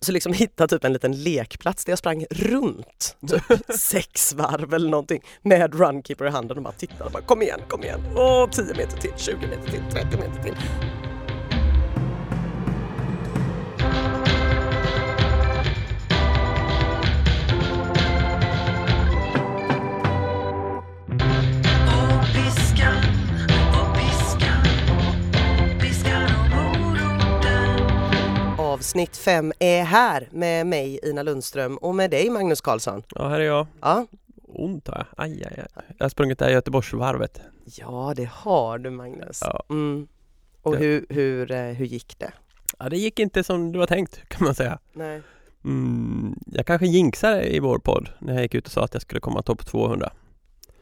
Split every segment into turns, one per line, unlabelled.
Så liksom hittade typ en liten lekplats där jag sprang runt typ sex varv eller någonting med runkeeper i handen och bara tittade och bara kom igen, kom igen. Åh, 10 meter till, 20 meter till, 30 meter till. Avsnitt 5 är här med mig Ina Lundström och med dig Magnus Karlsson.
Ja, här är jag.
Ja,
Ont har jag. Aj, aj, aj. Jag har sprungit det här Göteborgsvarvet.
ja det har du Magnus.
Ja.
Mm. Och
Det-
hur, hur, eh, hur gick det?
Ja, det gick inte som det var tänkt kan man säga.
Nej.
Mm, jag kanske jinxade i vår podd när jag gick ut och sa att jag skulle komma topp 200.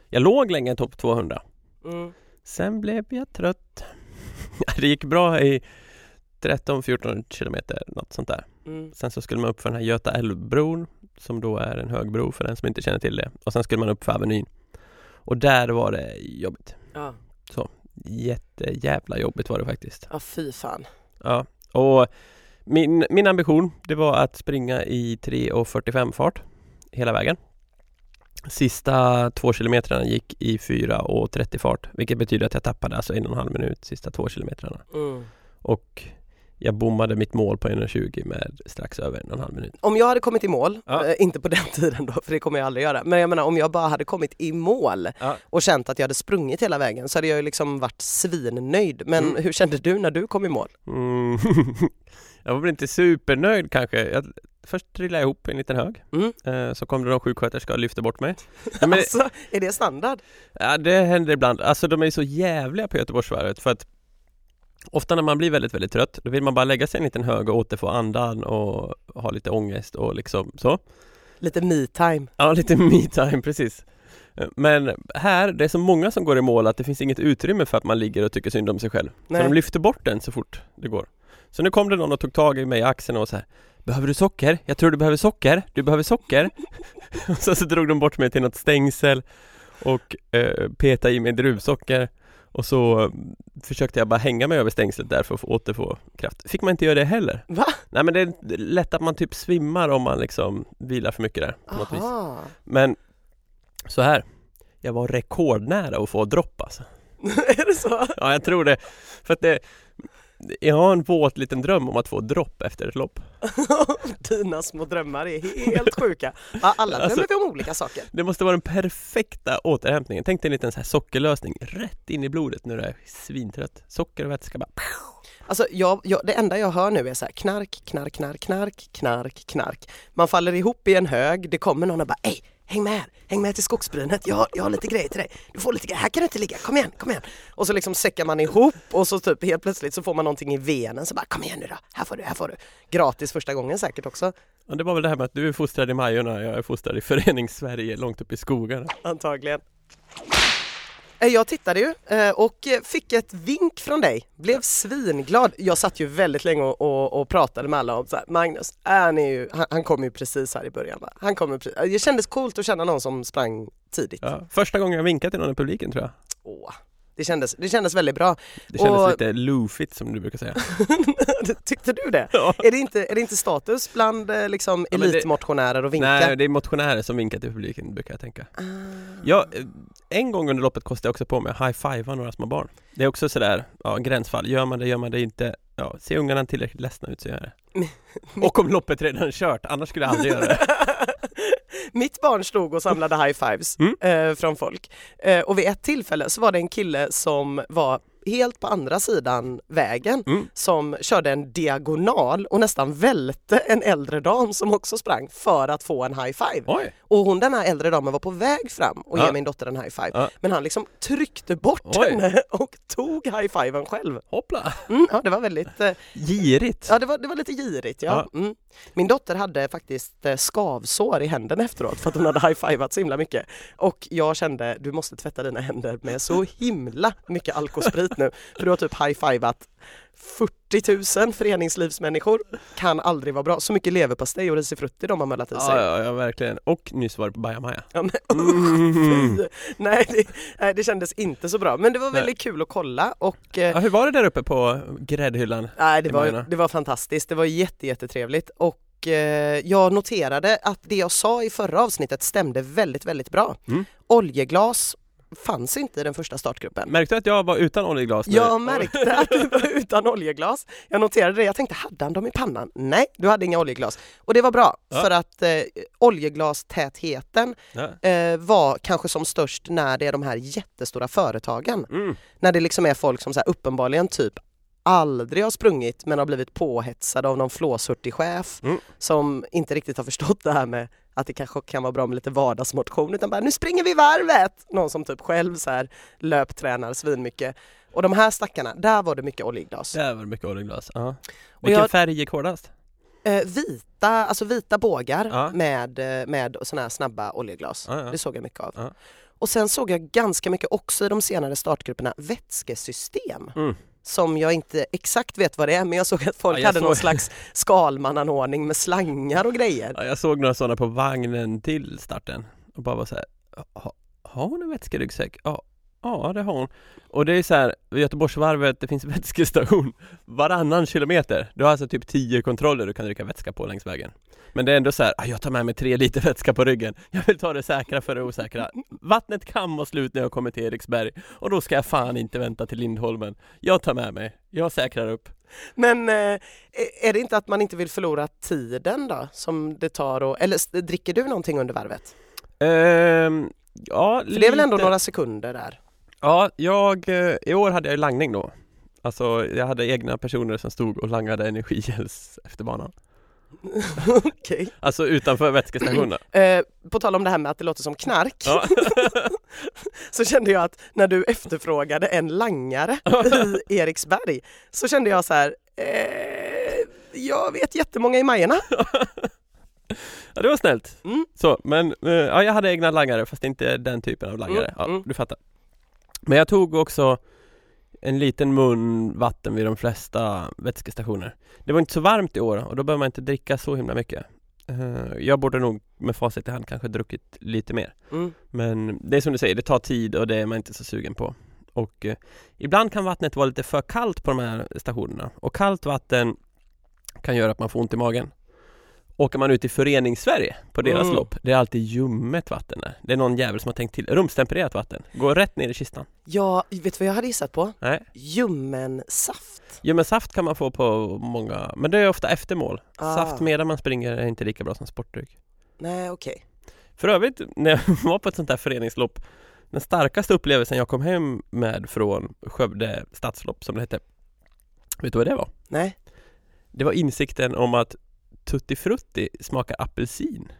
Jag låg länge i topp 200.
Mm.
Sen blev jag trött. det gick bra i 13-14 kilometer, något sånt där.
Mm.
Sen så skulle man upp för den här Göta älvbron som då är en hög bro för den som inte känner till det. Och sen skulle man upp för Avenyn. Och där var det jobbigt.
Ja.
Jättejävla jobbigt var det faktiskt.
ja, fy fan.
Ja, och min, min ambition det var att springa i 3.45 fart hela vägen. Sista två kilometrarna gick i 4.30 fart, vilket betyder att jag tappade alltså en och en halv minut sista två kilometrarna.
Mm.
Och jag bommade mitt mål på 1.20 med strax över en och en halv minut.
Om jag hade kommit i mål,
Ja.
eh, inte på den tiden då, för det kommer jag aldrig göra, men jag menar om jag bara hade kommit i mål
Ja.
och känt att jag hade sprungit hela vägen så hade jag ju liksom varit svinnöjd. Men
Mm.
hur kände du när du kom i mål?
Mm. jag var väl inte supernöjd kanske. Jag, först trillade jag ihop i en liten hög.
Mm.
Eh, så kom det någon sjuksköterska och lyfte bort mig. Ja, men,
Alltså, är det standard?
Ja, det händer ibland. Alltså de är så jävliga på Göteborgsvarvet för att ofta när man blir väldigt, väldigt trött då vill man bara lägga sig en liten hög och återfå andan och ha lite ångest och liksom så.
Lite me-time.
Ja, lite me-time, precis. Men här, det är så många som går i mål att det finns inget utrymme för att man ligger och tycker synd om sig själv.
Nej.
Så de lyfter bort den så fort det går. Så nu kom det någon och tog tag i mig i axeln och så här Behöver du socker? Jag tror du behöver socker. Du behöver socker. och så, så drog de bort mig till något stängsel och eh, petade i mig druvsocker. Och så eh, försökte jag bara hänga mig över stängslet där för att få återfå kraft. Fick man inte göra det heller.
Va?
Nej men det är lätt att man typ svimmar om man liksom vilar för mycket där. På något vis.
Aha.
Men så här, jag var rekordnära att få dropp alltså.
är det så?
Ja, jag tror det. För att det, jag har en våt liten dröm om att få dropp efter ett lopp.
Dina små drömmar är helt sjuka. Ja, alla drömmer
Alltså-
vi om olika saker.
Det måste vara den perfekta återhämtningen. Tänk dig en liten så här sockerlösning rätt in i blodet nu är jag svintrött. Socker och vätska bara.
Alltså jag, jag, det enda jag hör nu är så här knark, knark, knark, knark, knark, knark. Man faller ihop i en hög, det kommer någon och bara ej, häng med här, häng med till skogsbrynet, jag har, jag har lite grejer till dig. Du får lite grejer, här kan du inte ligga, kom igen, kom igen. Och så liksom säckar man ihop och så typ helt plötsligt så får man någonting i venen så bara kom igen nu då, här får du, här får du. Gratis första gången säkert också
Och det var väl det här med att du är fostrad i Majorna, jag är fostrad i Föreningssverige långt upp i skogarna.
antagligen. Eh, Jag tittade ju eh, och eh, fick ett vink från dig, blev svinglad. Jag satt ju väldigt länge och, och, och pratade med alla om så här, Magnus, han, är ju, han, han kom ju precis här i början. va? Han kom ju precis. Det kändes coolt att känna någon som sprang tidigt.
Ja. Första gången jag vinkade till någon i publiken tror jag.
Åh, det, kändes, det kändes väldigt bra.
Det kändes
Och-
lite lufigt som du brukar säga.
Tyckte du det?
Ja.
Är det inte, är det inte status bland eh, liksom,
Ja, men det-
elitmotionärer och vinka?
Nej, det är motionärer som vinkar till publiken brukar jag tänka.
Ah.
Ja, eh, en gång under loppet kostade jag också på mig att high-fivea några små barn. Det är också sådär, ja, gränsfall. Gör man det, gör man det inte. Ja, ser ungarna tillräckligt ledsna ut så gör jag det. Och om loppet redan är kört, annars skulle jag aldrig göra det.
Mitt barn stod och samlade high fives
Mm.
eh, från folk eh, och vid ett tillfälle så var det en kille som var helt på andra sidan vägen
Mm.
som körde en diagonal och nästan välte en äldre dam som också sprang för att få en high five.
Oj!
Och hon den här äldre damen var på väg fram och ge
Ja.
min dotter en high five
Ja.
men han liksom tryckte bort
Oj.
henne och tog high fiven själv.
Hoppla!
Mm, ja, det var väldigt eh,
Girigt!
Ja, det var, det var lite girigt. Ja. Mm. Min dotter hade faktiskt eh, skavsår i händerna efteråt för att hon hade high-fivat så himla mycket. Och jag kände, du måste tvätta dina händer med så himla mycket alkosprit nu. För du har typ high-fivat 40 000 föreningslivsmänniskor. Kan aldrig vara bra. Så mycket leverpastej och risifrutti de har möllat i sig.
Ja, ja, ja, verkligen. Och nyss var det på Mm. Bajamaja.
Ja, men, usch, fy. Nej, det, nej, det kändes inte så bra. Men det var väldigt kul att kolla och eh,
Ja, hur var det där uppe på gräddhyllan?
Nej, det
i
var,
Majorna.
det var fantastiskt. Det var jätte, jättetrevligt och och eh, jag noterade att det jag sa i förra avsnittet stämde väldigt, väldigt bra.
Mm.
Oljeglas fanns inte i den första startgruppen.
Märkte du att jag var utan oljeglas? när-
Jag märkte att du var utan oljeglas. Jag noterade det. Jag tänkte, hade han dem i pannan? Nej, du hade inga oljeglas. Och det var bra,
Ja.
för att eh, oljeglastätheten
Ja.
eh, var kanske som störst när det är de här jättestora företagen.
Mm.
När det liksom är folk som så här, uppenbarligen typ aldrig har sprungit men har blivit påhetsade av någon flåshurtig chef
Mm.
som inte riktigt har förstått det här med att det kanske kan vara bra med lite vardagsmotion utan bara nu springer vi varvet! Någon som typ själv så här löptränar svinmycket. Och de här stackarna, där var det mycket oljeglas.
Där var det mycket oljeglas. Ja.
Och
Vilken
jag-
färg gick hårdast?
Eh, vita, alltså vita bågar
Ja.
med, eh, med sådana här snabba oljeglas.
Ja, ja.
Det såg jag mycket av.
Ja.
Och sen såg jag ganska mycket också i de senare startgrupperna vätskesystem.
Mm.
Som jag inte exakt vet vad det är men jag såg att folk
Ja, jag
hade någon
såg-
slags skalmannanordning med slangar och grejer.
Ja, jag såg några sådana på vagnen till starten och bara var så här, "Ha- har hon en vätskeryggsäck? Ja, ja det har hon. Och det är så här, vid Göteborgsvarvet, det finns vätskestation varannan kilometer. Du har alltså typ 10 kontroller du kan dricka vätska på längs vägen. Men det är ändå så här, "Ah, jag tar med mig tre liter vätska på ryggen. Jag vill ta det säkra för det osäkra. Vattnet kan vara slut när jag kommer till Eriksberg och då ska jag fan inte vänta till Lindholmen. Jag tar med mig, jag säkrar upp.
Men eh, är det inte att man inte vill förlora tiden då? Som det tar och, eller s- dricker du någonting under varvet?
Ehm, ja,
För det är väl ändå
lite.
några sekunder där?
Ja, jag, eh, i år hade jag ju langning då. Alltså jag hade egna personer som stod och langade energigels efter banan.
Okej.
Alltså utanför vätskestationen.
Eh, på tal om det här med att det låter som knark
Ja.
så kände jag att när du efterfrågade en langare i Eriksberg så kände jag så här, eh, jag vet jättemånga i Majerna.
ja, det var snällt.
Mm.
Så, men eh, ja, jag hade egna langare fast inte den typen av langare.
Mm, mm.
Ja, du fattar. Men jag tog också en liten mun vatten vid de flesta vätskestationer. Det var inte så varmt i år och då behöver man inte dricka så himla mycket. Eh, jag borde nog med facit i hand kanske druckit lite mer.
mm.
Men det är som du säger, det tar tid och det är man inte så sugen på. Och eh, ibland kan vattnet vara lite för kallt på de här stationerna. Och kallt vatten kan göra att man får ont i magen. Åker man ut i Föreningssverige på deras
Mm.
lopp, det är alltid ljummet vatten där. Det är någon jävel som har tänkt till. Rumstempererat vatten. Går rätt ner i kistan.
Ja, vet du vad jag hade gissat på?
Nej.
Ljummen saft.
Ljummen saft kan man få på många, men det är ofta efter mål.
Ah.
Saft medan man springer är inte lika bra som sportdryck.
Nej, okej.
För övrigt, när jag var på ett sånt här föreningslopp Den starkaste upplevelsen jag kom hem med från Skövde stadslopp som det hette Vet du vad det var?
Nej.
Det var insikten om att Tutti Frutti smakar apelsin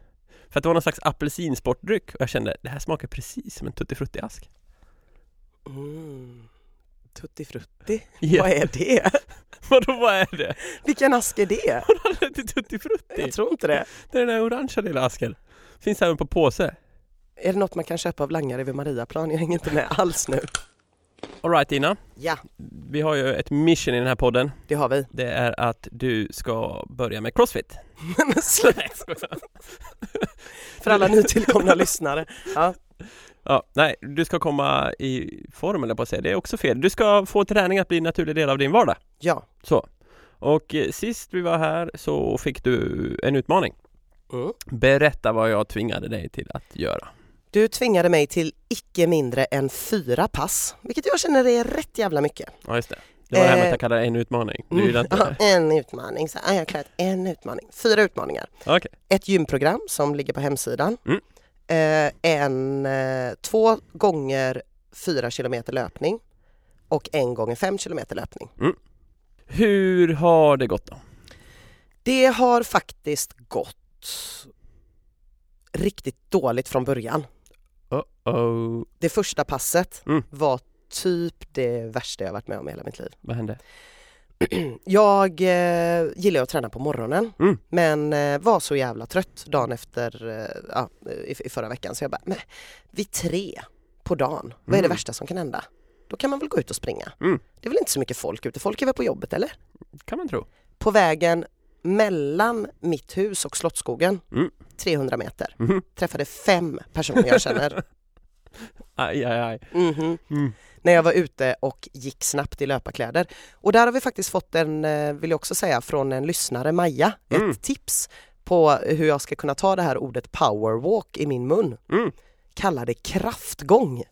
För att det var någon slags apelsinsportdryck och jag kände det här smakar precis som en Tutti Frutti-ask
Mm. Tutti frutti,
Ja,
vad är det?
Vadå vad är det?
Vilken ask är det?
Vad är det till Tutti Frutti?
Jag tror inte det.
Det är den här orangea lilla asken Finns även på påse
Är det något man kan köpa av langare vid Mariaplan? Jag hänger inte med alls nu.
Alright Ina,
Ja,
vi har ju ett mission i den här podden
det har vi.
Det är att du ska börja med Crossfit
Men sluta. För alla nytillkomna lyssnare.
Ja, nej, du ska komma i form eller på att säga, det är också fel. Du ska få träning att bli en naturlig del av din vardag.
Ja.
Så. Och eh, sist vi var här så fick du en utmaning.
Mm.
Berätta vad jag tvingade dig till att göra.
Du tvingade mig till icke mindre än fyra pass, vilket jag känner är rätt jävla mycket.
Ja, just det. Det var det här
Eh.
med att jag kallade det en utmaning. Du gillade inte
Ja,
det?
en utmaning, så här, jag har klarat en utmaning. Fyra utmaningar.
Okej.
Ett gymprogram som ligger på hemsidan.
Mm.
Eh, en, eh, två gånger fyra kilometer löpning och en gånger fem kilometer löpning.
Hur har det gått då?
Det har faktiskt gått riktigt dåligt från början.
Uh-oh.
Det första passet
Mm.
var typ det värsta jag varit med om i hela mitt liv.
Vad hände?
Jag eh, gillar att träna på morgonen
Mm.
men eh, var så jävla trött dagen efter, eh, ja, i, i förra veckan så jag bara, men vid tre på dagen, vad är det
Mm.
värsta som kan hända? Då kan man väl gå ut och springa.
Mm.
Det är väl inte så mycket folk ute, folk är väl på jobbet eller?
Kan man tro.
På vägen mellan mitt hus och Slottsskogen,
Mm.
300 meter,
Mhm.
träffade fem personer jag känner.
Aj, aj, aj.
Mhm.
Mm.
när jag var ute och gick snabbt i löparkläder. Och där har vi faktiskt fått en, eh, vill jag också säga, från en lyssnare, Maja,
Mm.
ett tips på hur jag ska kunna ta det här ordet powerwalk i min mun.
Mm.
Kallar det kraftgång.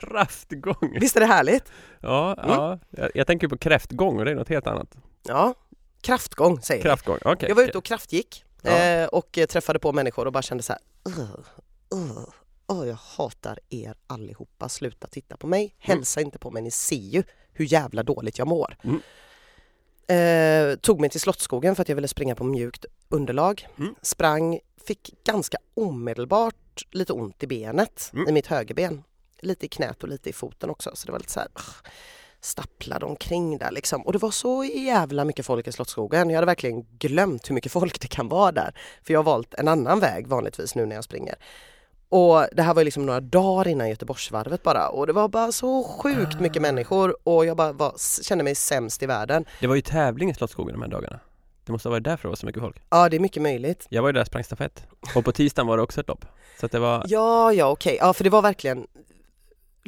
Kraftgång!
Visst är det härligt?
Ja,
Mm.
ja. Jag, jag tänker på kräftgång och det är något helt annat.
Ja, kraftgång säger vi.
Kraftgång, okej.
Jag var ute och kraftgick
Ja.
eh, och eh, träffade på människor och bara kände så här. "Ugh, ugh, åh, jag hatar er allihopa, sluta titta på
Mm.
mig, hälsa inte på mig, ni ser ju hur jävla dåligt jag mår.
Mm.
Eh, tog mig till Slottsskogen för att jag ville springa på mjukt underlag.
Mm.
Sprang, fick ganska omedelbart lite ont i benet,
Mm.
i mitt högerben. Lite i knät och lite i foten också, så det var lite så här "Ugh", stapplade omkring där liksom. Och det var så jävla mycket folk i Slottsskogen. Jag hade verkligen glömt hur mycket folk det kan vara där. För jag har valt en annan väg vanligtvis nu när jag springer. Och det här var ju liksom några dagar innan Göteborgsvarvet bara och det var bara så
Ah.
sjukt mycket människor och jag bara var, kände mig sämst i världen.
Det var ju tävling i Slottsskogen de här dagarna. Det måste ha varit därför det var så mycket folk.
Ja det är mycket möjligt.
Jag var ju där och sprang stafett. Och på tisdagen var det också ett lopp. Så att det var...
Ja ja okej, ja för det var verkligen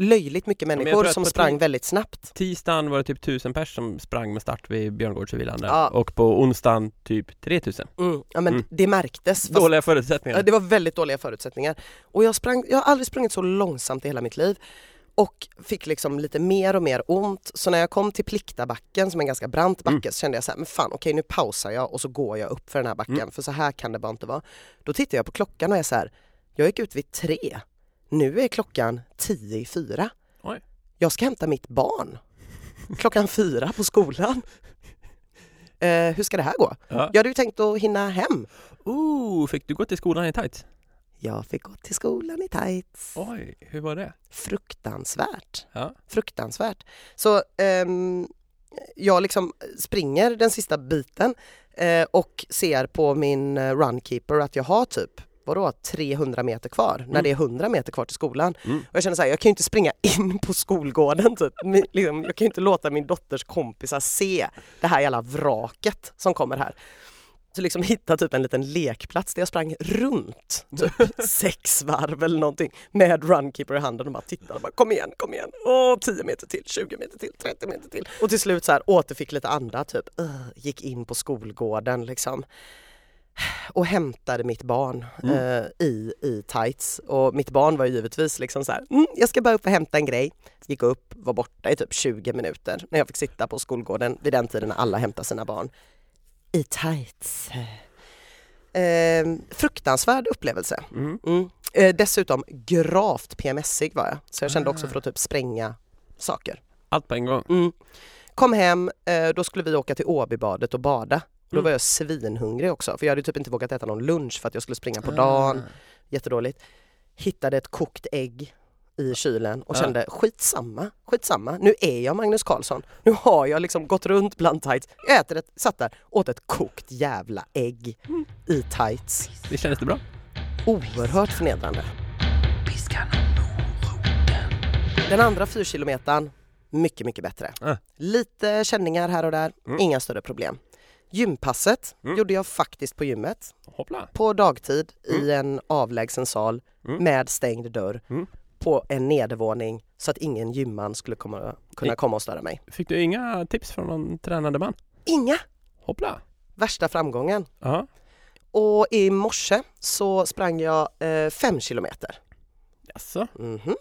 löjligt mycket
jag
människor
tror att
som
på
sprang
ti-
väldigt snabbt.
Tisdagen var det typ tusen pers som sprang med start vid Björngårdsvilan där.
Ja.
Och på onsdagen typ 3000.
Mm. Ja men
Mm.
det märktes. Fast
Dåliga förutsättningar.
Ja, det var väldigt dåliga förutsättningar. Och jag, sprang, jag har aldrig sprungit så långsamt i hela mitt liv och fick liksom lite mer och mer ont. Så när jag kom till Pliktabacken som är en ganska brant backe
Mm.
så kände jag så här, men fan okej nu pausar jag och så går jag upp för den här backen
Mm.
för så här kan det bara inte vara. Då tittar jag på klockan och är så här, jag gick ut vid tre. Nu är klockan tio i fyra.
Oj.
Jag ska hämta mitt barn klockan fyra på skolan. Eh, hur ska det här gå?
Ja.
Jag hade ju tänkt att hinna hem.
Ooh, fick du gå till skolan i tights?
Jag fick gå till skolan i tights.
Oj, hur var det?
fruktansvärt.
Ja.
Fruktansvärt. Så ehm, jag liksom springer den sista biten eh, och ser på min eh, runkeeper att jag har typ vadå 300 meter kvar när
Mm.
det är 100 meter kvar till skolan.
Mm.
Och jag känner så här, jag kan ju inte springa in på skolgården typ. Min, liksom, jag kan ju inte låta min dotters kompisar se det här jävla vraket som kommer här. Så liksom hitta typ en liten lekplats där jag sprang runt typ sex varv eller någonting med runkeeper i handen och bara tittade och bara kom igen, kom igen, åh 10 meter till, 20 meter till, 30 meter till. Och till slut så här återfick lite anda typ, Ugh, gick in på skolgården liksom och hämtade mitt barn eh, i, i tights och mitt barn var ju givetvis liksom så här, mm, jag ska bara upp och hämta en grej. Gick upp, var borta i typ 20 minuter när jag fick sitta på skolgården vid den tiden när alla hämtar sina barn i tights. Eh, fruktansvärd upplevelse.
Mm.
Mm. Eh, dessutom gravt PMSig var jag, så jag kände också för att typ spränga saker.
Allt på en gång.
Mm. Kom hem, eh, då skulle vi åka till Åbybadet och bada. Då
Mm.
var jag svinhungrig också, för jag hade typ inte vågat äta någon lunch för att jag skulle springa på dagen.
Ah.
Jättedåligt. Hittade ett kokt ägg i kylen och
Ah.
kände skitsamma, skitsamma, nu är jag Magnus Karlsson. Nu har jag liksom gått runt bland tights, jag äter ett, satt där, åt ett kokt jävla ägg i tights.
Det kändes det bra?
Oerhört förnedrande. Den andra fyrkilometern, mycket, mycket bättre.
Ah.
Lite känningar här och där,
Mm.
inga större problem. Gympasset
Mm.
gjorde jag faktiskt på gymmet,
Hoppla!
på dagtid i en avlägsen sal
Mm.
med stängd dörr
Mm.
på en nedervåning så att ingen gymman skulle komma, kunna
I-
komma och störa mig.
Fick du inga tips från någon tränande man?
Inga!
Hoppla!
Värsta framgången.
Ja.
Och i morse så sprang jag eh, fem kilometer.
Jaså?
Mhm.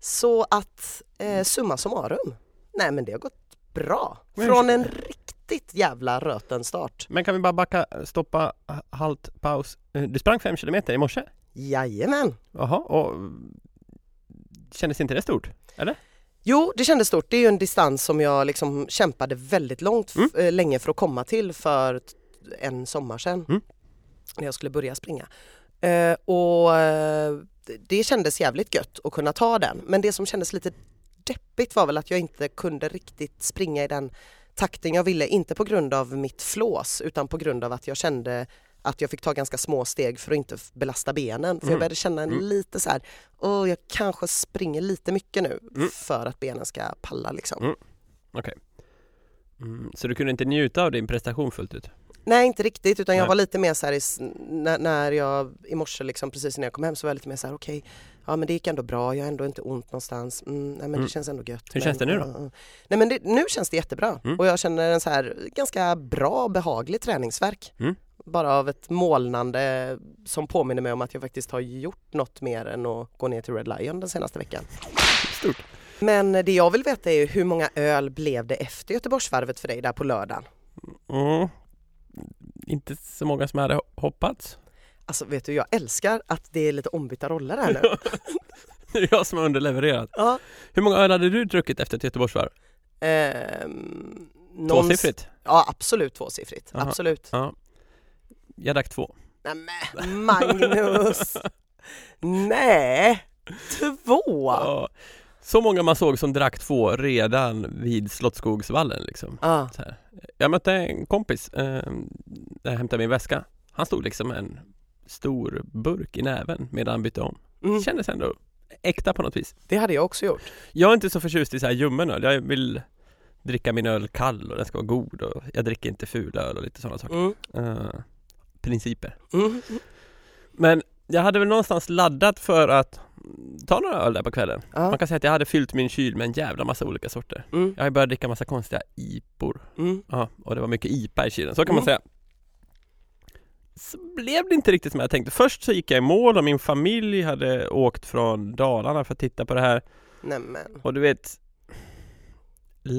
Så att eh, summa summarum, nej men det har gått bra.
Men-
Från en riktigt jävla röten start.
Men kan vi bara backa, stoppa, ha- halt, paus. Eh, Du sprang fem kilometer i morse?
Jajamän.
Jaha, och mm, kändes inte det stort?
Jo, det kändes stort. Det är ju en distans som jag liksom kämpade väldigt långt f-
Mm.
eh, länge för att komma till för t- en sommar sedan
Mm.
när jag skulle börja springa. Eh, och eh, det- det kändes jävligt gött att kunna ta den. Men det som kändes lite deppigt var väl att jag inte kunde riktigt springa i den takten jag ville. Inte på grund av mitt flås utan på grund av att jag kände att jag fick ta ganska små steg för att inte f- belasta benen. För jag
Mm.
började känna en
Mm.
lite så här, åh jag kanske springer lite mycket nu
Mm.
för att benen ska palla liksom.
Mm. Mm, så du kunde inte njuta av din prestation fullt ut?
Nej inte riktigt utan jag
Nej.
var lite mer så här i, s- när, när jag i morse liksom precis innan jag kom hem så var jag lite mer så här okej, ja men det gick ändå bra, jag har ändå inte ont någonstans, mm, nej men
Mm.
det känns ändå gött.
Hur känns
men,
det nu då?
ja, ja. Nej men det, nu känns det jättebra
Mm.
och jag känner en så här ganska bra behaglig träningsverk.
Mm.
bara av ett molnande som påminner mig om att jag faktiskt har gjort något mer än att gå ner till Red Lion den senaste veckan.
Stort.
Men det jag vill veta är ju hur många öl blev det efter Göteborgsvarvet för dig där på lördagen?
Mm. Inte så många som hade hoppats.
Alltså vet du, jag älskar att det är lite ombytta roller här nu.
Det är jag som har underlevererat.
ja.
Hur många öl hade du druckit efter ett Göteborgsvarv?
Ehm, någon-
Tvåsiffrigt?
Ja, absolut tvåsiffrigt.
Aha.
Absolut.
Jag drack två.
Nämen, Magnus! Nej, två! Ja.
Ja. Så många man såg som drack två redan vid Slottsskogsvallen liksom.
Ah,
Så här. Jag mötte en kompis eh, när jag hämtade min väska. Han stod liksom med en stor burk i näven medan han bytte om.
mm,
Kändes ändå äkta på något vis.
det hade jag också gjort.
Jag är inte så förtjust i så här ljummen öl. Jag vill dricka min öl kall och den ska vara god och jag dricker inte ful öl och lite sådana saker.
Mm,
Eh, principer.
mm,
Men jag hade väl någonstans laddat för att mm, ta några öl där på kvällen.
ja,
Man kan säga att jag hade fyllt min kyl med en jävla massa olika sorter.
mm,
Jag har börjat dricka massa konstiga IPor.
mm.
Ja, och det var mycket IPA i kylen, så kan man
Mm.
säga. Så blev det inte riktigt som jag tänkte. Först så gick jag i mål och min familj hade åkt från Dalarna för att titta på det här.
Nämen.
Och du vet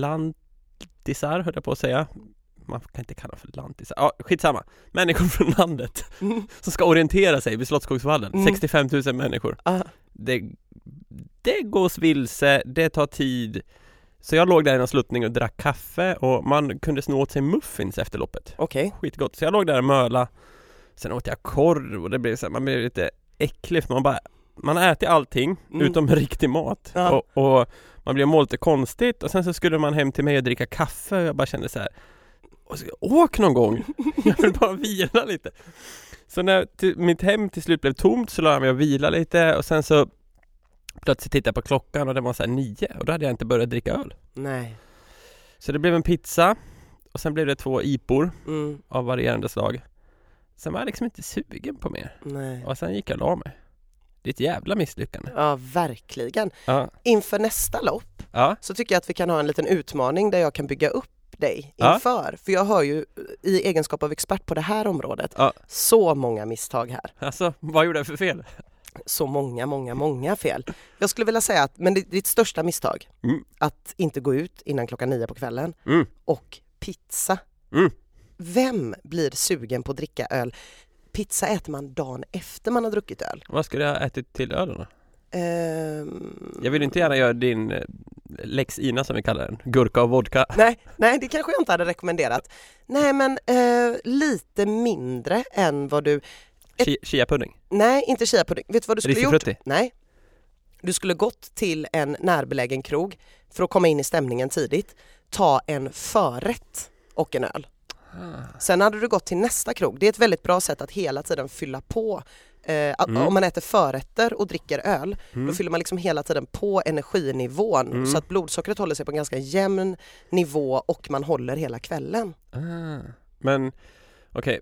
Lantisar höll jag på att säga Man kan inte kalla dem för lantisar, ja skitsamma Människor från landet
Mm,
som ska orientera sig vid Slottskogsvallen
Mm.
65 000 människor
ah,
det, det gås vilse, det tar tid Så jag låg där i någon sluttning och drack kaffe och man kunde sno åt sig muffins efter loppet
Okej.
Skitgott, så jag låg där och möla Sen åt jag korv och det blev så här, man blev lite äcklig för man bara Man har ätit allting
Mm.
utom riktig mat
Ja.
och, och man blev må lite konstigt och sen så skulle man hem till mig och dricka kaffe och jag bara kände så här "Och så- Åk någon gång! Jag vill bara vila lite Så när till, mitt hem till slut blev tomt så la jag mig och vila lite och sen så Plötsligt tittade jag på klockan och det var så här nio och då hade jag inte börjat dricka öl
Nej.
Så det blev en pizza och sen blev det två ipor
Mm,
av varierande slag. Sen var jag liksom inte sugen på mer.
nej.
Och sen gick jag och la mig. Det är ett jävla misslyckande.
Ja, verkligen.
Ja,
Inför nästa lopp
ja,
så tycker jag att vi kan ha en liten utmaning där jag kan bygga upp dig
Ja.
inför. För jag hör ju i egenskap av expert på det här området
Ja.
så många misstag här.
alltså vad gjorde jag för fel?
Så många, många, många fel. Jag skulle vilja säga att, men det, ditt största misstag,
Mm.
att inte gå ut innan klockan nio på kvällen
Mm.
och pizza.
Mm.
Vem blir sugen på att dricka öl? Pizza äter man dagen efter man har druckit öl.
Vad skulle jag ha ätit till ölen då?
Ehm,
Jag vill inte gärna göra din eh, Lex Ina som vi kallar den, gurka och vodka.
Nej, nej, det kanske jag inte hade rekommenderat. Nej, men eh, lite mindre än vad du...
Chi- Chiapudding,
Nej, inte chiapudding. Vet du vad du skulle gjort?
risifrutti.
Nej. Du skulle gått till en närbelägen krog för att komma in i stämningen tidigt, ta en förrätt och en öl.
Ah.
Sen hade du gått till nästa krog. Det är ett väldigt bra sätt att hela tiden fylla på. Eh, a-
Mm.
Om man äter förrätter och dricker öl,
Mm.
då fyller man liksom hela tiden på energinivån
Mm.
så att blodsockret håller sig på en ganska jämn nivå och man håller hela kvällen.
Ah. Men okej,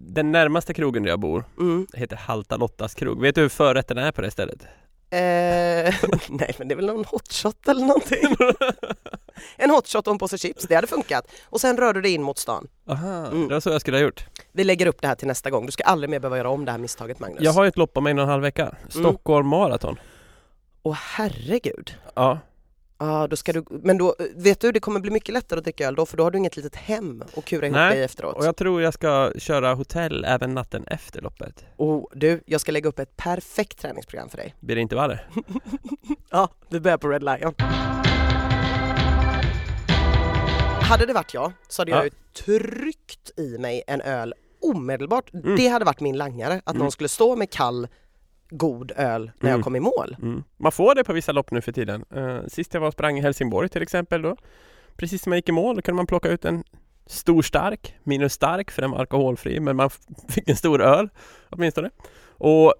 den närmaste krogen där jag bor
Mm.
heter Halta Lottas krog. Vet du hur förrätten är på det stället?
Eh, nej men det är väl någon hotshot eller någonting. en hotshot och en påse chips, det hade funkat. Och sen rör du dig in mot stan.
Aha,
Mm.
det var så jag skulle ha gjort.
Vi lägger upp det här till nästa gång. Du ska aldrig mer behöva göra om det här misstaget Magnus.
Jag har ju ett lopp om en och en halv vecka, Stockholm maraton.
Och herregud.
Ja,
Ja, då ska du, men då, vet du, det kommer bli mycket lättare att dricka öl då för då har du inget litet hem att kura ihop
Nej,
dig efteråt.
och jag tror jag ska köra hotell även natten efter loppet.
Oh, du, jag ska lägga upp ett perfekt träningsprogram för dig.
Blir det inte värre?
Ja, vi börjar på Red Lion. Hade det varit jag så hade jag
Ja.
ju tryckt i mig en öl omedelbart.
Mm.
Det hade varit min langare, att
Mm.
någon skulle stå med kall, god öl när
Mm.
jag kom i mål.
Mm. Man får det på vissa lopp nu för tiden. Eh, sist jag var och sprang i Helsingborg till exempel då, precis när man gick i mål, då kunde man plocka ut en stor stark, minus stark för den var alkoholfri, men man f- fick en stor öl åtminstone. Och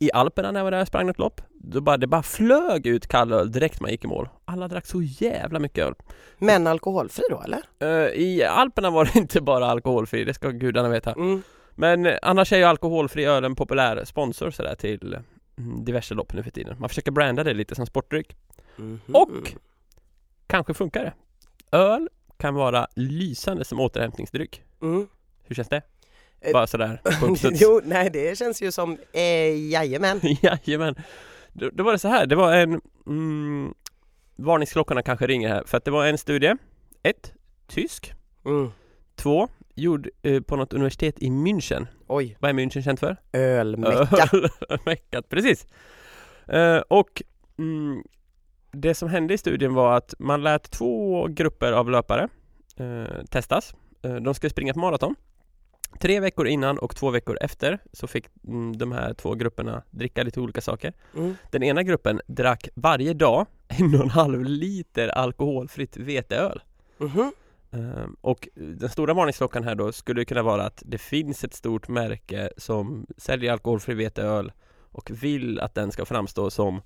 i Alperna när jag var där och sprang något lopp, då bara, det bara flög ut kall öl direkt man gick i mål. Alla drack så jävla mycket öl.
Men alkoholfri då eller?
Eh, I Alperna var det inte bara alkoholfri, det ska gudarna veta.
Mm.
Men eh, annars är ju alkoholfri öl en populär sponsor sådär till mm, diverse lopp nu för tiden. Man försöker branda det lite som sportdryck.
Mm. Mhm.
Och kanske funkar det. Öl kan vara lysande som återhämtningsdryck.
Mm.
Hur känns det?
Eh,
Bara sådär på uppstuds.
jo, nej det känns ju som, eh, jajamän.
Jajamän. Då, då var det så här, det var en... Mm, varningsklockorna kanske ringer här, för att det var en studie. Ett, Tysk.
Mm.
Två, Gjord eh, på något universitet i München.
Oj,
Vad är München känt för?
ölmecka.
Meckat, precis. Eh, och mm, det som hände i studien var att man lät två grupper av löpare eh, testas. Eh, de skulle springa ett maraton. Tre veckor innan och två veckor efter så fick mm, de här två grupperna dricka lite olika saker.
Mm.
Den ena gruppen drack varje dag en och en halv liter alkoholfritt veteöl.
Mhm.
Ehm, Och den stora varningsklockan här då skulle kunna vara att det finns ett stort märke som säljer alkoholfri veteöl och vill att den ska framstå som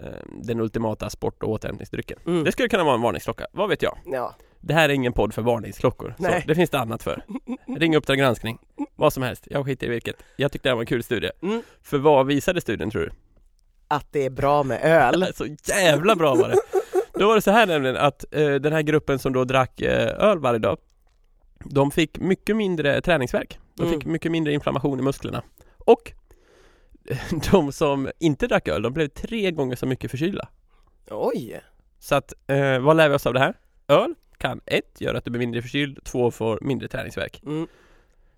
ehm, den ultimata sport och återhämtningsdrycken.
Mm.
Det skulle kunna vara en varningsklocka, vad vet jag?
Ja.
Det här är ingen podd för varningsklockor,
Nej.
så det finns det annat för. Ring Uppdrag granskning, vad som helst, jag skiter i vilket. Jag tyckte det här var en kul studie.
Mm.
För vad visade studien tror du?
Att det är bra med öl.
Så jävla bra var det! Då var det så här nämligen att eh, den här gruppen som då drack eh, öl varje dag De fick mycket mindre träningsvärk De
Mm.
fick mycket mindre inflammation i musklerna Och eh, de som inte drack öl, de blev tre gånger så mycket förkylda
Oj.
Så att, eh, vad lär vi oss av det här? Öl kan ett, göra att du blir mindre förkyld, två, får mindre träningsvärk
Mm.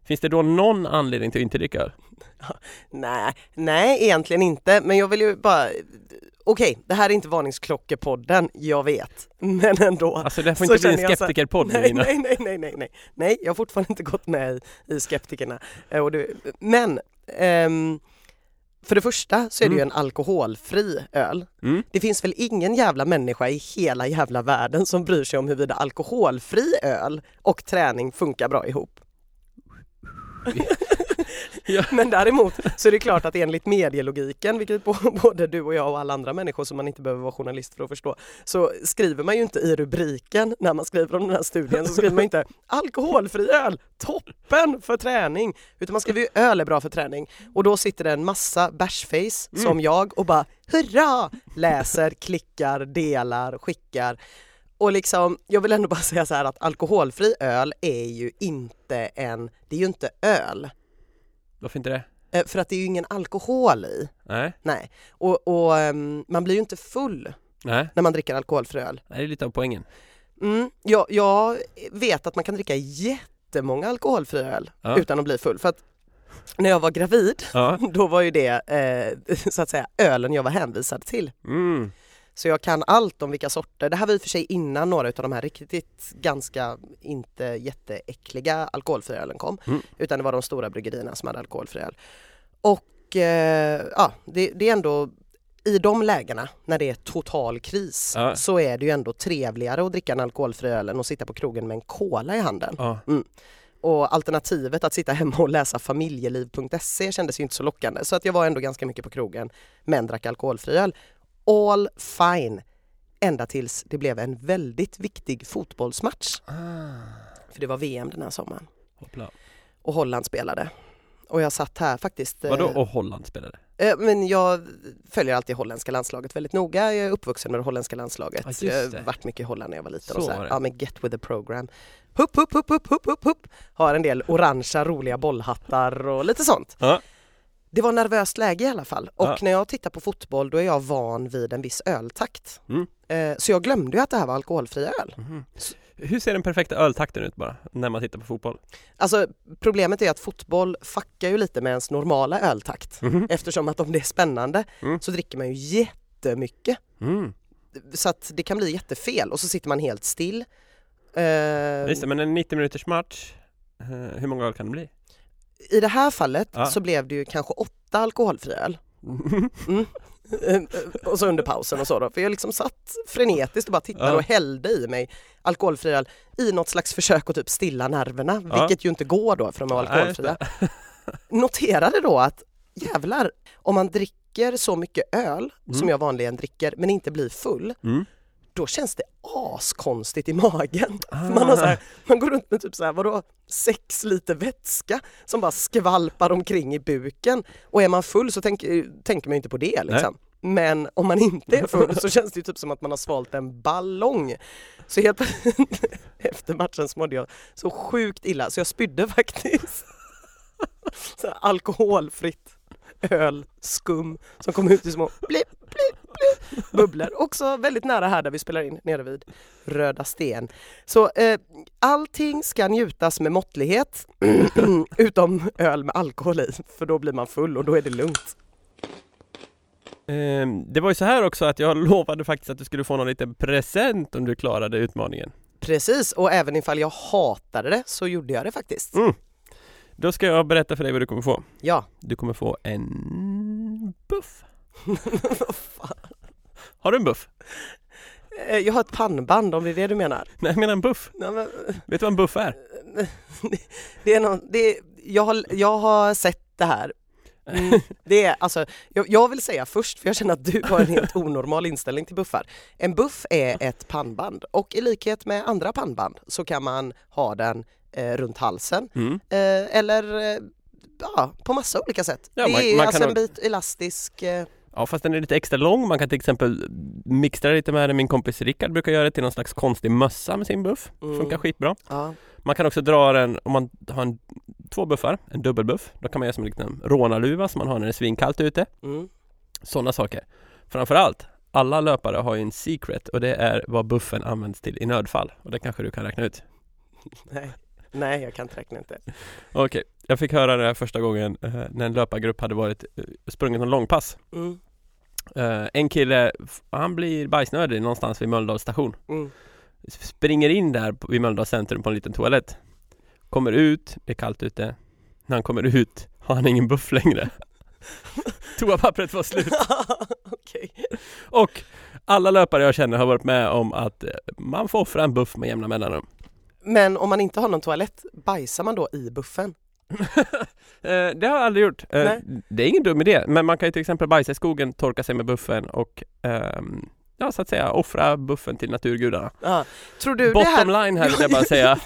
Finns det då någon anledning till att inte dricka öl?
Nej, nej egentligen inte, men jag vill ju bara Okej, det här är inte varningsklockepodden, jag vet. Men ändå.
Alltså det här får
Så
inte bli
känner
en
jag så-
skeptikerpodd
Nej,
Lina
nej, nej, nej, nej, nej. Nej, jag har fortfarande inte gått med i, i skeptikerna. Eh, och det, men ehm, för det första så är det ju en alkoholfri öl.
mm.
Det finns väl ingen jävla människa i hela jävla världen som bryr sig om huruvida alkoholfri öl och träning funkar bra ihop.
Ja.
Men däremot så är det klart att enligt medielogiken, vilket bo- både du och jag och alla andra människor som man inte behöver vara journalist för att förstå, så skriver man ju inte i rubriken när man skriver om den här studien så skriver man inte alkoholfri öl, toppen för träning, utan man skriver ju öl är bra för träning och då sitter det en massa bashface som jag och bara hurra, läser, klickar, delar, skickar och liksom, jag vill ändå bara säga så här att alkoholfri öl är ju inte en, det är ju inte öl.
Varför inte det?
Eh, För att det är ju ingen alkohol i.
Nej,
Nej. Och, och ehm, man blir ju inte full
nej,
när man dricker alkoholfri öl.
det är lite av poängen
Mm, jag, jag vet att man kan dricka jättemånga alkoholfri öl
Ja.
utan att bli full. För att när jag var gravid,
Ja,
då var ju det eh, så att säga ölen jag var hänvisad till.
mm.
Så jag kan allt om vilka sorter. Det här var i och för sig innan några av de här riktigt ganska inte jätteäckliga alkoholfria ölen kom.
Mm.
Utan det var de stora bryggerierna som hade alkoholfri öl. Och eh, ja, det, det är ändå i de lägena när det är total kris
Ja.
så är det ju ändå trevligare att dricka en alkoholfri öl än att sitta på krogen med en cola i handen.
ja.
Och alternativet att sitta hemma och läsa familjeliv.se kändes ju inte så lockande. Så att jag var ändå ganska mycket på krogen, men drack alkoholfri öl. All fine. Ända tills det blev en väldigt viktig fotbollsmatch. För det var VM den här sommaren
Ah. Hoppla.
och Holland spelade. Och jag satt här faktiskt. eh,
Vadå och Holland spelade?
Eh, Men jag följer alltid holländska landslaget väldigt noga. Jag är uppvuxen med det holländska landslaget.
Ja, just
jag
det.
har varit mycket i Holland när jag var liten.
Så
och så
var
här.
det.
Ja, men get with the program. Hupp, hupp, hupp, hupp, hupp, hupp, hupp. Har en del orangea roliga bollhattar och lite sånt.
Ja.
Det var nervöst läge i alla fall. Och
Ja.
när jag tittar på fotboll då är jag van vid en viss öltakt.
Mm.
Eh, Så jag glömde ju att det här var alkoholfri öl.
Hur ser den perfekta öltakten ut bara, när man tittar på fotboll?
Alltså problemet är att fotboll fuckar ju lite med ens normala öltakt.
Mm-hmm.
Eftersom att om det är spännande
Mm.
så dricker man ju jättemycket.
Mm.
så att det kan bli jättefel och så sitter man helt still. Eh,
Just det, men en 90 minuters match, eh, hur många öl kan det bli?
I det här fallet
Ja.
så blev det ju kanske åtta alkoholfri öl.
Mm-hmm.
Eh, och så under pausen och så då. För jag liksom satt frenetiskt och bara tittade
Ja.
och hällde i mig alkoholfri öl i något slags försök att typ stilla nerverna,
Ja.
vilket ju inte går då för de är
Nej, just
alkoholfria. Noterade då att jävlar, om man dricker så mycket öl som jag vanligen dricker men inte blir full,
Mm.
då känns det askonstigt i magen. För Man, har så här, man går runt med typ så här, vadå, sex liter vätska som bara skvalpar omkring i buken. Och är man full så tänk, tänker man ju inte på det liksom. Men om man inte är full så känns det ju typ som att man har svalt en ballong. Så helt efter matchen så mådde jag så sjukt illa så jag spydde faktiskt. Så här alkoholfritt öl, skum som kom ut i små blipp, blipp, blipp, bubblor. Också väldigt nära här där vi spelar in, nere vid Röda Sten. Så eh, allting ska njutas med måttlighet, utom öl med alkohol i, för då blir man full och då är det lugnt.
Ehm, Det var ju så här också att jag lovade faktiskt att du skulle få någon liten present om du klarade utmaningen.
Precis, och även ifall jag hatade det så gjorde jag det faktiskt.
Mm. Då ska jag berätta för dig vad du kommer få.
Ja,
Du kommer få en buff.
vad fan.
Har du en buff?
Eh, jag har ett pannband om det är det du menar.
Nej, jag menar en buff.
Nej, men,
Vet du vad en buff är?
det är någon, det är, jag, har, jag har sett det här. Mm, det är, alltså, jag, jag vill säga först, för jag känner att du har en helt onormal inställning till buffar. En buff är ett pannband och i likhet med andra pannband så kan man ha den eh, runt halsen
Mm.
eh, eller eh, ja, på massa olika sätt.
Ja,
det
man-
är
man
alltså
kan
en bit elastisk eh,
Ja, fast den är lite extra lång. Man kan till exempel mixtra lite med den. Min kompis Rickard brukar göra det till någon slags konstig mössa med sin buff.
Mm.
Funkar skitbra.
ja.
Man kan också dra den, om man har en, två buffar, en dubbelbuff, då kan man göra som en liten rånarluva som man har när det är svinkallt ute.
Mm.
Sådana saker. Framförallt, alla löpare har ju en secret och det är vad buffen används till i nödfall. Och det kanske du kan räkna ut.
Nej. Nej, jag kan inte räkna inte.
Okej, jag fick höra det här första gången eh, när en löpargrupp hade varit eh, sprungit en långpass.
Mm.
Eh, en kille, f- han blir bajsnödig någonstans vid Mölndals station.
Mm.
Springer in där på- vid Mölndals centrum på en liten toalett. Kommer ut, det är kallt ute. När han kommer ut har han ingen buff längre. Toapappret var slut.
Okej.
Och alla löpare jag känner har varit med om att eh, man får offra en buff med jämna mellanrum.
Men om man inte har någon toalett, bajsar man då i buffen?
Eh, det har jag aldrig gjort. Eh,
Nej.
Det är ingen dum idé, men man kan ju till exempel bajsa i skogen, torka sig med buffen och ehm, ja, så att säga offra buffen till naturgudarna.
Ja. Tror du det här...
Bottom line här vill jag bara säga.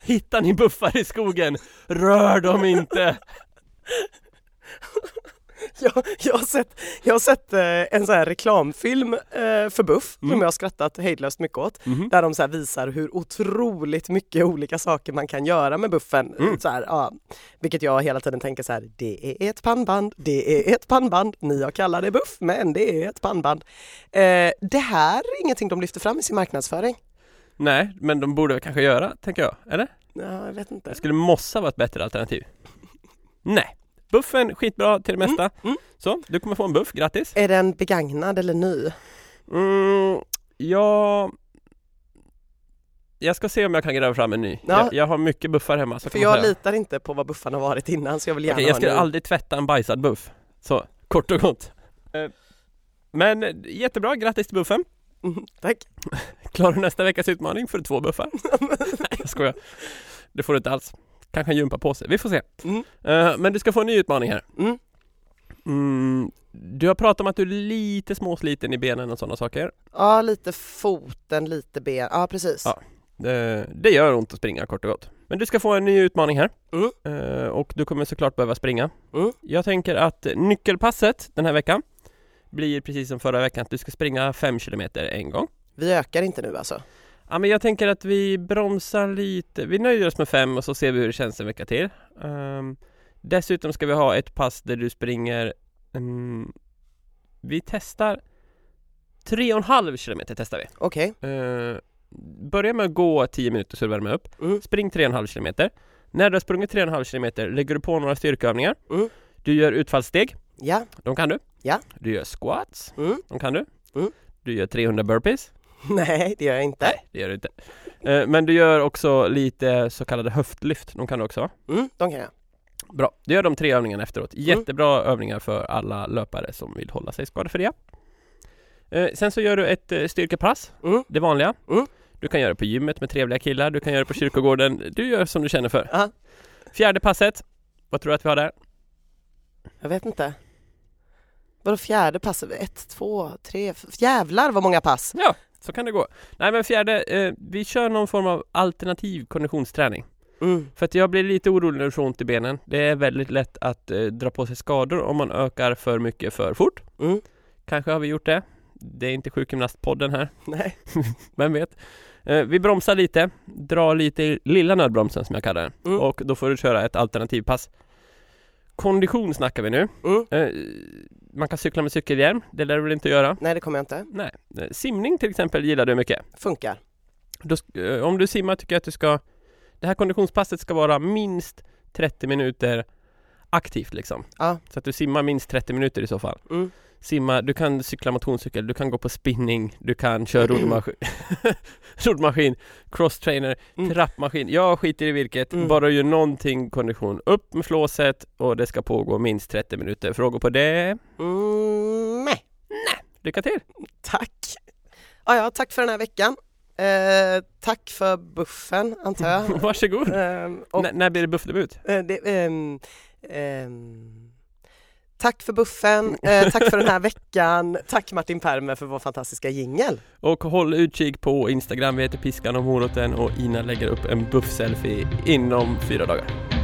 Hittar ni buffar i skogen, rör dem inte!
Jag, jag har sett, jag har sett eh, en sån här reklamfilm eh, för Buff
Mm.
som jag har skrattat hejdlöst mycket åt.
Mhm.
Där de så här visar hur otroligt mycket olika saker man kan göra med buffen.
Mm.
Så här, ja, vilket jag hela tiden tänker så här, det är ett pannband, det är ett pannband, ni har kallat det buff men det är ett pannband. Eh, det här är ingenting de lyfter fram i sin marknadsföring.
Nej, men de borde väl kanske göra, tänker jag. Eller?
Ja, jag vet inte.
Jag skulle mossa vara ett bättre alternativ. Nej, buffen skitbra till det mesta.
mm.
Så, du kommer få en buff, grattis!
Är den begagnad eller ny?
Mm, ja... Jag ska se om jag kan gräva fram en ny.
Ja.
Jag, jag har mycket buffar hemma. Så
För
kan man
jag
säga.
litar inte på vad buffan har varit innan så jag vill gärna
Okej, jag
ha en
skulle
ny.
aldrig tvätta en bajsad buff. Så, kort och gott. Eh, Men eh, jättebra, grattis till buffen!
Mm, Tack.
Klarar du nästa veckas utmaning får du två buffar. Nej, jag skojar. Det får du inte alls. Kanske en gympapåse, vi får se.
Mm.
Eh, Men du ska få en ny utmaning här.
Mm.
Mm, du har pratat om att du är lite småsliten i benen och sådana saker.
Ja, lite foten, lite ben. Ja, precis.
Ja. Eh, Det gör ont att springa kort och gott. Men du ska få en ny utmaning här.
Mm.
Eh, Och du kommer såklart behöva springa.
Mm.
Jag tänker att nyckelpasset den här veckan blir precis som förra veckan att du ska springa 5 km en gång.
Vi ökar inte nu alltså.
Ja men jag tänker att vi bromsar lite, vi nöjer oss med fem och så ser vi hur det känns en vecka till. Ehm, dessutom ska vi ha ett pass där du springer, mm, vi testar 3,5 kilometer testar vi.
Okej.
Ehm, börja med att gå 10 minuter så du värmer upp.
Mm.
Spring 3,5 kilometer. När du har sprungit 3,5 kilometer lägger du på några styrkeövningar.
Mm.
Du gör utfallssteg,
Ja.
de kan du.
Ja.
Du gör squats,
Mm.
de kan du.
Mm.
Du gör 300 burpees.
Nej, det gör jag inte.
Nej, det gör du inte. Eh, Men du gör också lite så kallade höftlyft, de kan du också.
Mm, de kan jag.
Bra, du gör de tre övningarna efteråt.
Mm.
Jättebra övningar för alla löpare som vill hålla sig skadefria. Eh, Sen så gör du ett eh, styrkepass,
Mm.
det vanliga.
Mm.
Du kan göra det på gymmet med trevliga killar, du kan göra det på kyrkogården. Du gör som du känner för.
Ja.
Fjärde passet, vad tror du att vi har där?
Jag vet inte. Vadå fjärde pass? Ett, två, tre, f- jävlar vad många pass!
Ja, så kan det gå. Nej men fjärde, eh, vi kör någon form av alternativ konditionsträning.
Mm.
För att jag blir lite orolig när du får ont i benen. Det är väldigt lätt att eh, dra på sig skador om man ökar för mycket för fort.
Mm.
Kanske har vi gjort det. Det är inte sjukgymnastpodden här,
Nej.
vem vet? Eh, vi bromsar lite, drar lite i lilla nödbromsen som jag kallar den.
Mm.
Och då får du köra ett alternativpass. kondition snackar vi nu.
Mm.
Eh, man kan cykla med cykelhjälm, det lär du väl inte göra?
Nej det kommer jag inte.
Nej. Eh, Simning till exempel gillar du mycket.
Funkar.
Då, sk- eh, om du simmar tycker jag att du ska Det här konditionspasset ska vara minst 30 minuter aktivt liksom.
Ja.
Så att du simmar minst 30 minuter i så fall.
Mm.
Simma, du kan cykla motionscykel, du kan gå på spinning, du kan köra
Mm.
roddmaskin, roddmaskin crosstrainer,
Mm.
trappmaskin. Jag skiter i vilket,
Mm.
bara du gör någonting kondition. Upp med flåset och det ska pågå minst 30 minuter. Frågor på det?
Mm, nej,
Lycka till!
tack. Ja, ja, tack för den här veckan. Eh, tack för buffen antar jag.
Varsågod!
Ehm, och,
N- när blir det buffdebut?
eh, det, ehm, ehm, tack för buffen, eh, tack för den här veckan, tack Martin Permer för vår fantastiska jingel.
Och håll utkik på Instagram, vi heter Piskan och Moroten och Ina lägger upp en buff-selfie inom fyra dagar.